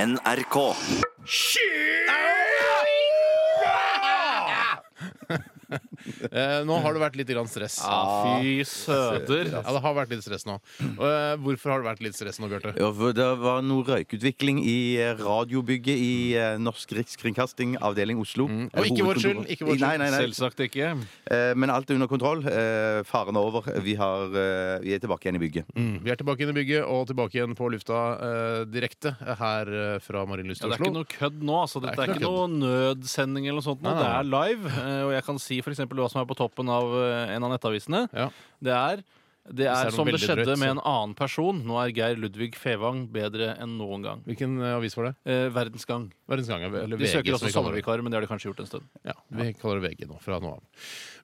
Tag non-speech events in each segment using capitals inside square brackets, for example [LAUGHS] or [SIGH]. NRK. Eh, nå har det vært litt grann stress. Fy søder. Ja, det har vært litt stress nå. Eh, hvorfor har det vært litt stress nå, Bjarte? Ja, for Det var noe røykutvikling i eh, radiobygget i eh, Norsk Rikskringkasting, avdeling Oslo. Eh, Mm. Og ikke vår hovedkontoret. skyld, ikke vår Nei, nei, nei. Selvsagt ikke. Eh, Men alt er under kontroll. Eh, Faren er over. Vi, har, eh, vi er tilbake igjen i bygget. Mm. Vi er tilbake inn i bygget og tilbake igjen på lufta eh, direkte her eh, fra Marienlyst Ja, i det er ikke Oslo. noe kødd nå. Altså, dette Det er er ikke ikke noe nødsending eller noe sånt. Nå. Nei, Det nei, er live. eh, Og jeg kan si f.eks. hva som er på toppen av eh, en av nettavisene. Ja. Det er det er er noe som det veldig skjedde drøyt, så- med en annen person. Nå er Geir Ludvig Fevang bedre enn noen gang. Hvilken eh, avis var det? Eh, verdens gang. Verdens Gang? Eller De VG, søker som vi også kaller det. sommervikarer, men det har de kanskje gjort en stund. Ja, vi kaller det VG nå, fra nå av.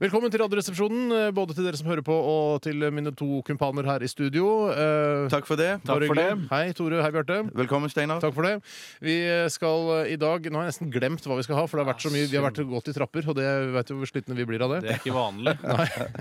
Velkommen til Radioresepsjonen, eh, både til dere som hører på, og til mine to kumpaner her i studio. Eh, Takk for bare det. Takk for hyggelig. det. Hei, Tore. Hei, Bjarte. Velkommen, Steinar. Takk for det. Vi skal eh, i dag Nå har jeg nesten glemt hva vi skal ha, for det har vært så mye. Vi har vært gått i trapper, og det vet jo hvor slitne vi blir av [LAUGHS] det. Det er ikke vanlig.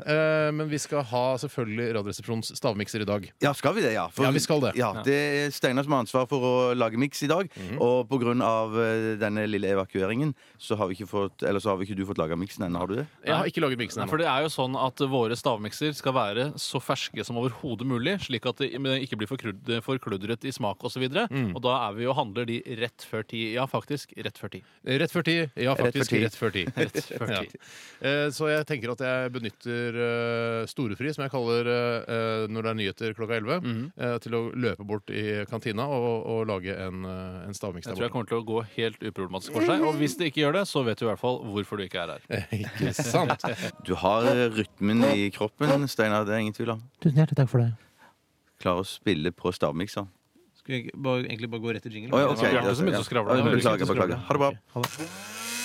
Eh, Men vi skal ha selvfølgelig Radioresepsjonens stavmikser i dag. Ja, skal vi det? Ja, For- Ja, Mhm. vi skal det. Ja, det er Steinar som har ansvar for å lage miks i dag. Og på grunn av eh, denne lille evakueringen så har, vi ikke fått, eller så har vi ikke du fått laga miksen ennå. Har du det? Jeg har ikke laget miksen Nei, for ennå. det er jo sånn at Våre stavmikser skal være så ferske som overhodet mulig, slik at det men det ikke blir forklud- forkludret i smak osv. videre Mm. Og da er vi jo og handler de rett før ti. Ja, faktisk. Rett før ti. Rett før ti. Ja, Rett faktisk. før ti. Rett før ti. [LAUGHS] Rett før Ja. ti. Eh, Så jeg tenker at jeg benytter eh, storefri, som jeg kaller eh, når det er nyheter klokka 11, Mhm. eh, til å løpe bort i kantina og, og lage en, eh, en stavmiks Jeg der tror jeg borte. kommer til å gå helt uproblematisk for seg. Og hvis det ikke gjør det, så vet du i hvert fall hvorfor du ikke er her. [LAUGHS] Ikke [LAUGHS] sant? Du har eh, rytmen i kroppen, Steinar. Det er ingen tvil om. Tusen hjertelig takk for det. Klarer å spille på stavmikser. Skulle jeg bare, egentlig bare gå rett til jingle? Å, ja, Det ok. var Bjarte som begynte å skravle. Ja, ja, Det høres ut Beklager. som beklager. Ha det bra.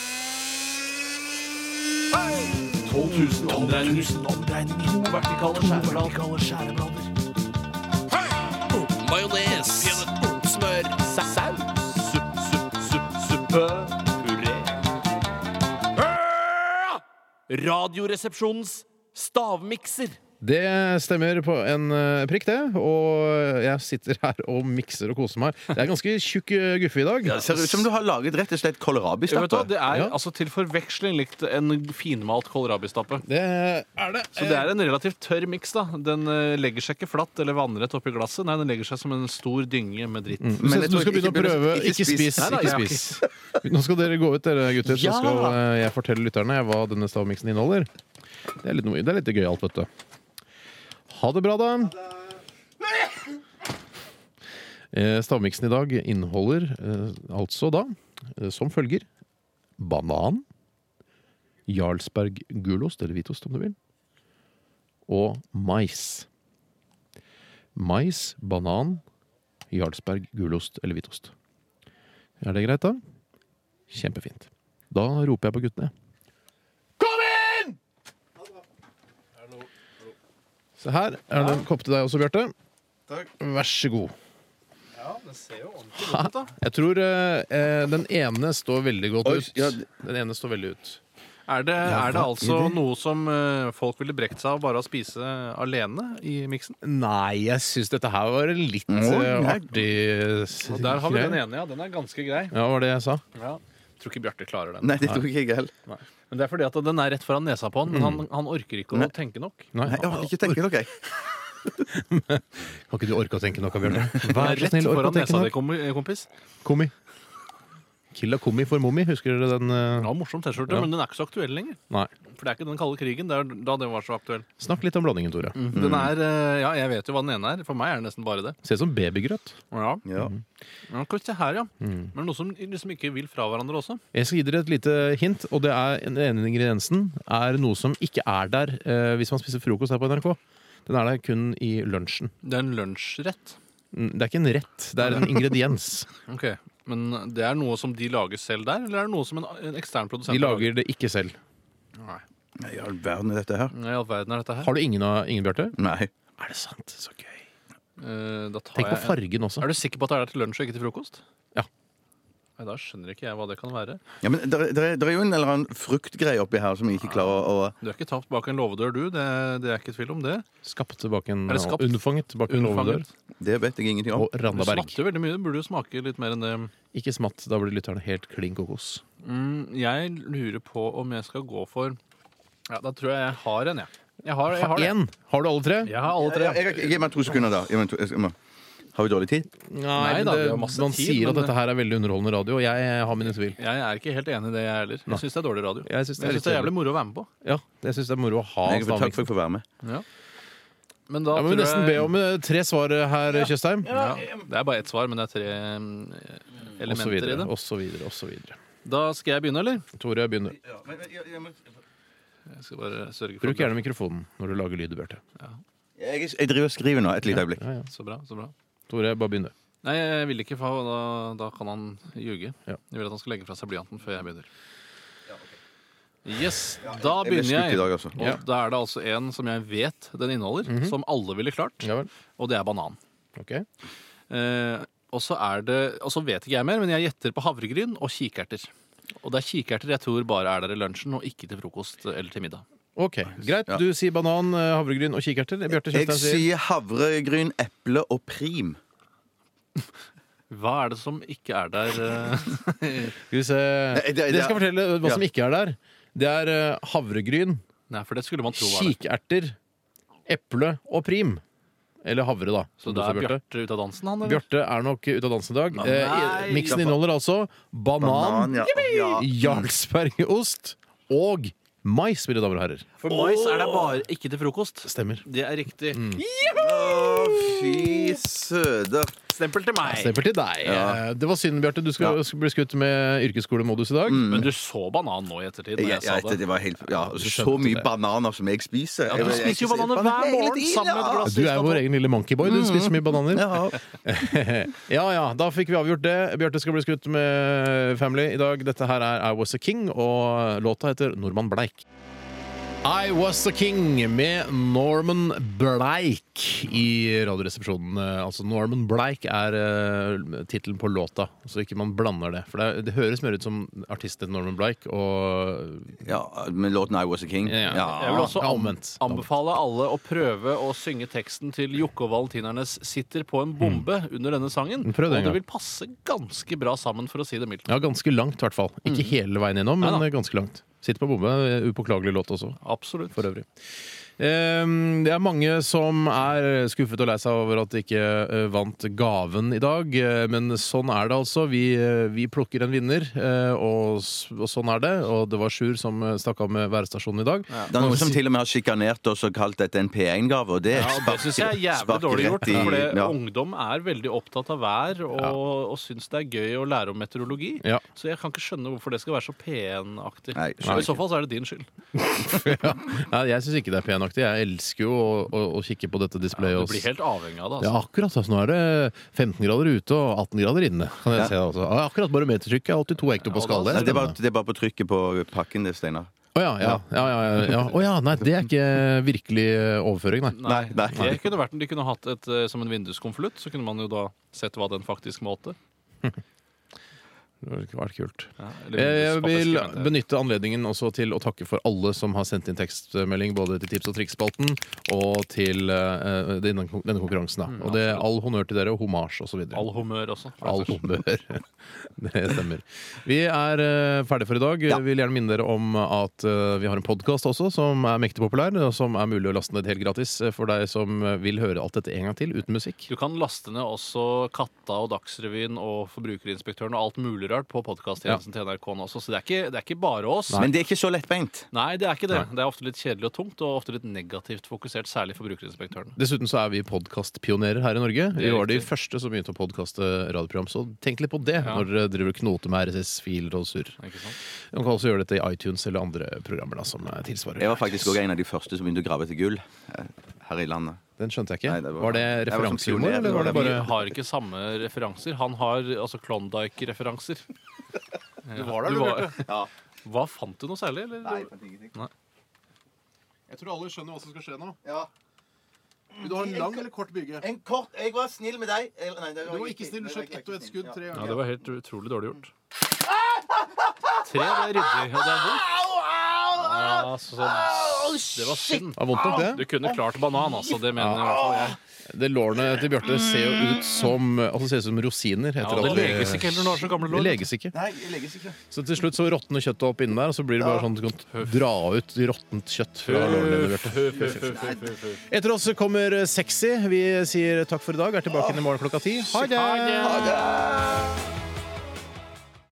Radioresepsjonens stavmikser. Det stemmer på en eh, prikk, det. Og jeg sitter her og mikser og koser meg. Det er ganske tjukk eh, guffe i dag. Det ser ut som du har laget rett og slett Vet du hva, kålrabistappe. Det er Ja. altså til forveksling likt en finmalt kålrabistappe. Det er det. Så det er en relativt tørr miks. da Den eh, legger seg ikke flatt eller vannrett oppi glasset. Nei, den legger seg som en stor dynge med dritt. Du Men ser ut jeg som du tror skal begynne å ikke- prøve. ikke Ikke spis. spis. Nei, nei, Ikke ja. spis. [LAUGHS] Nå skal dere gå ut, dere gutter, så Ja. skal eh, jeg fortelle lytterne hva denne stavmiksen inneholder. Det er litt, noe- det er litt gøyalt, vet du. Ha det bra, da. Eh, Stavmiksen i dag inneholder eh, altså da eh, som følger banan, Jarlsberg gulost, eller hvitost om du vil, og mais. Mais, banan, Jarlsberg gulost eller hvitost. Er det greit, da? Kjempefint. Da roper jeg på guttene. Kom inn! Se her er det en kopp til deg også, Bjarte. Vær så god. Ja, den ser jo ordentlig godt ut, da. Jeg tror eh, eh, den ene står veldig godt Oi, ut. ja, d- Den ene står veldig ut. Er det, er det hva altså er det? noe som eh, folk ville brekt seg av bare å spise alene i miksen? Nei, jeg syns dette her var en litt Oi, eh, nei. artig Og der har vi den ene, ja. Den er ganske grei. Ja, var det jeg sa? Ja. Tror ikke Bjarte klarer den. Nei, det tror ikke jeg heller. Men det er fordi at den er rett foran nesa på han, men han, Mm. han orker ikke å tenke nok. Nei, Nei, jeg orker ikke tenke nok, jeg. Har ikke du orka å tenke nok, Bjørn? Den er rett foran nesa di, kom- eh, kompis. Kommi. Killa Kommi for Mommi, husker dere den? eh? Ja, morsom T-skjorte, Ja. men den er ikke så aktuell lenger. Nei. For det er ikke den kalde krigen. Det er da den var så aktuell. Snakk litt om blandingen, Tore. Mhm. Den er, eh, ja, jeg vet jo hva den ene er. For meg er det nesten bare det. Ser ut som babygrøt. Ja, Ja. ja kan vi se her, ja. Mm. Men noe som liksom ikke vil fra hverandre også. Jeg skal gi dere et lite hint, og det er den ene ingrediensen er noe som ikke er der eh, hvis man spiser frokost her på NRK. Den er der kun i lunsjen. Det er en lunsjrett. Mm, Det er ikke en rett, det er en ingrediens. [LAUGHS] Ok, Men det er noe som de lager selv der, eller er det noe som en, en ekstern produsent De lager det ikke selv. Nei. Nei, i all verden er dette her. Hva i all verden er dette her? Har du ingen av ingen, Bjarte? Nei. Er det sant? Så gøy. Eh, da tar Tenk på jeg en. fargen også. Er du sikker på at det er der til lunsj og ikke til frokost? Ja. Nei, Da skjønner ikke jeg hva det kan være. Ja, men Det er jo en eller annen fruktgreie oppi her som jeg ikke klarer å, å Du er ikke tapt bak en låvedør, du. Det, det er ikke tvil om det. Skapt bak en Er det skapt? Unnfanget bak en låvedør. Unnfanget. Det vet jeg ingenting om. Og Du Randaberg. smatter veldig mye. Du burde jo smake litt mer enn det. Ikke smatt, da blir lytterne helt klin kokos. Mm, jeg lurer på om jeg skal gå for Ja, da tror jeg jeg har en, jeg. Jeg har, jeg har det. Én! Har du alle tre? Jeg har Ja, alle tre. ja, jeg- jeg- Gi meg to sekunder, da. Gi meg to, jeg må- har vi dårlig tid? Nei, Nei men da, det, vi har masse man tid, sier at men- eh, dette her er veldig underholdende radio, og jeg eh, har mine tvil. Jeg er ikke helt enig i det, jeg heller. Jeg syns det er dårlig radio. Jeg Jeg syns det, er synes litt det er kjedelig. jævlig moro å være med på. Ja, jeg synes det er moro å ha Jeg, vil- takk stavmiksen. for at jeg får være med. Men da Ja, men vi tror nesten be jeg- om eh, tre svar her, Tjøstheim. ja, Det er bare ett svar, men det er tre mm, Og så elementer i videre, det. og så videre, og så videre. Da skal jeg begynne, eller? Tore, begynn. du. Jeg skal bare sørge for Bruk gjerne mikrofonen når du lager lyd, Bjarte. Jeg, jeg driver og skriver nå. Et lite øyeblikk. Ja, ja. Så bra, så bra. Tore, bare begynn, du. Nei, jeg vil ikke, for da, da kan han ljuge. Ja. Jeg vil at han skal legge fra seg blyanten før jeg begynner. Yes, da Jeg ble begynner skutt i jeg. dag, altså. Og Ja. Mhm. da er det altså en som jeg vet den inneholder, som alle ville klart, Ja vel. og det er banan. Ok. Eh, og så er det, og så vet ikke jeg mer, men jeg gjetter på havregryn og kikerter. Og det er kikerter jeg tror bare er der i lunsjen, og ikke til frokost eller til middag. Ok, Greit. Ja. Du sier banan, eh, havregryn og kikerter. Bjarte Jeg Tjøstheim sier sier havregryn, eple og prim. Hva er det som ikke er der? eh? Skal vi se det- det- Det skal jeg fortelle hva Ja. som ikke er der. Det er eh, havregryn, Nei, for det skulle man tro var det. kikerter, eple og prim. Eller havre, da. Så Som du da er sa, Bjarte. Bjarte ute av dansen, han? eller? Bjarte er nok ute av dansen i dag. Nei. Eh, Miksen inneholder altså banan, ja. ja. jarlsbergost og mais, mine damer og herrer. For mais er det bare ikke til frokost. Stemmer. Det er riktig. Å, fy søder. Stempel til meg. Stemmer til deg. Ja. Eh, Det var synd, Bjarte. Du skal Ja. skal bli skutt med yrkesskolemodus i dag. Men du så banan nå i ettertid. Når Jeg, jeg, jeg, sa det. det var helt, ja, og du så, så skjønte mye det. bananer som jeg spiser. du Jeg- jeg- spiser jo jeg- bananer hver hele morgen tiden, sammen med ja. et glass. Du er vår egen lille monkeyboy. Du spiser mye bananer. Ja. [LAUGHS] Ja ja, da fikk vi avgjort det. Bjarte skal bli skutt med Family i dag. Dette her er I Was A King, og låta heter Norman Bleik. I Was A King med Norman Bleik i Radioresepsjonen. Eh, Altså Norman Bleik er uh, tittelen på låta, så ikke man blander det. For det, er- det høres mer ut som artisten Norman Bleik og ja, Med låten I Was A King. Ja. Jeg vil også Ja, an- omvendt. anbefale alle å prøve å synge teksten til Jokke og Valentinernes 'Sitter på en bombe' under denne sangen. Prøv det en gang. og Mm. det vil passe ganske bra sammen, for å si det mildt. Ja, ganske langt, i hvert fall. Ikke Mm. hele veien gjennom, men Ja da. eh, ganske langt. Sitter på bombe. eh, Upåklagelig låt også. Absolutt. for øvrig. Ehm, Det er mange som er eh, skuffet og lei seg over at de ikke eh, vant gaven i dag. eh, Men sånn er det altså. Vi, eh, vi plukker en vinner, eh, og, s- og sånn er det. Og det var Sjur som eh, stakk av med værstasjonen i dag. Det er noen som til og med har sjikanert oss og kalt dette en P1-gave, og det Ja, og det syns jeg er jævlig spark dårlig gjort. rett i- For det- ja. ungdom er veldig opptatt av vær og, og syns det er gøy å lære om meteorologi. Ja. Så jeg kan ikke skjønne hvorfor det skal være så P1-aktig. Nei, Så skjønner I så fall så er det din skyld. Nei, jeg syns ikke det er penaktig. Jeg elsker jo å, å, å kikke på dette displayet. Du og s- blir helt avhengig av det. ja, Altså. akkurat. Altså, nå er det 15 grader ute og 18 grader inne. Kan jeg Ja. se det også. Ja, Akkurat barometertrykket er 82 hekto på Ja, og da- skala. Nei, det, er bare, det er bare på trykket på pakken, det, Steinar. Å ja, ja, ja, ja, ja. Å ja. Nei, det er ikke virkelig eh, overføring, nei. Nei, nei. Det kunne vært om de kunne hatt et eh, som en vinduskonvolutt, så kunne man jo da sett hva den faktisk målte. Det hadde vært kult. Eh, Ja, eller Jeg vinduspappesker, vil mente jeg. benytte anledningen også til å takke for alle som har sendt inn tekstmelding, både til Tips og triks-spalten og til eh, denne denne konkurransen. Da. Og det er all honnør til dere, og homasj osv. All humør også. for All det første. humør. [LAUGHS] Det stemmer. Vi er eh, ferdige for i dag. Ja. Vi vil gjerne minne dere om at eh, vi har en podkast også, som er mektig populær, og som er mulig å laste ned helt gratis eh, for deg som eh, vil høre alt dette en gang til, uten musikk. Du kan laste ned også Katta og Dagsrevyen og Forbrukerinspektøren og alt mulig rart på podkasttjenesten til NRK nå også, så det er ikke, det er ikke bare oss. Men det er ikke så lettbeint. Nei, det er ikke det. Det er ofte litt kjedelig og tungt, og ofte litt negativt fokusert, særlig forbrukerinspektørene. Dessuten så er vi podkastpionerer her i Norge. Det Vi er var de riktig. første som begynte å podkaste radioprogram, så tenk litt på det Ja. når dere driver og knoter med RSS-filer og surr. Ikke sant? Man kan også gjøre dette i iTunes eller andre programmer da, som eh, tilsvarer. Jeg var faktisk også en av de første som begynte å grave etter gull eh, her i landet. Den skjønte jeg ikke. Nei, det var... var- det Jeg var som referansehumor, pioner, eller var det det var bare Vi har ikke samme referanser. Han har altså Klondyke-referanser. Du var der, du, Ja. Hva fant du noe særlig, eller? Jeg tror alle skjønner hva som skal skje nå. Ja. Vil du ha en lang eller kort bygge? En kort Jeg var snill med deg. Eller, nei, det Du var ikke snill, du skjøt ett og ett skudd tre Ja, det var helt utrolig dårlig gjort. tre, det er ryddig, og det er vondt. Ja, så, så, det var synd. Det er vondt nok, det. Du kunne klart banan, altså. Det mener jeg i hvert fall jeg. Det lårene til Bjarte ser jo ut som altså ser ut som rosiner. Etter Ja, og det alt leges ikke heller når det er så gamle Det lår. leges ikke. Nei, jeg legges ikke. Så til slutt så råtner kjøttet opp inni der, og så blir det bare sånn at du kan dra ut råttent kjøtt. fra lårene dine, Bjarte. Etter oss kommer Sexy. Vi sier takk for i dag. Er tilbake igjen i morgen klokka ti. Ha det! Ha det!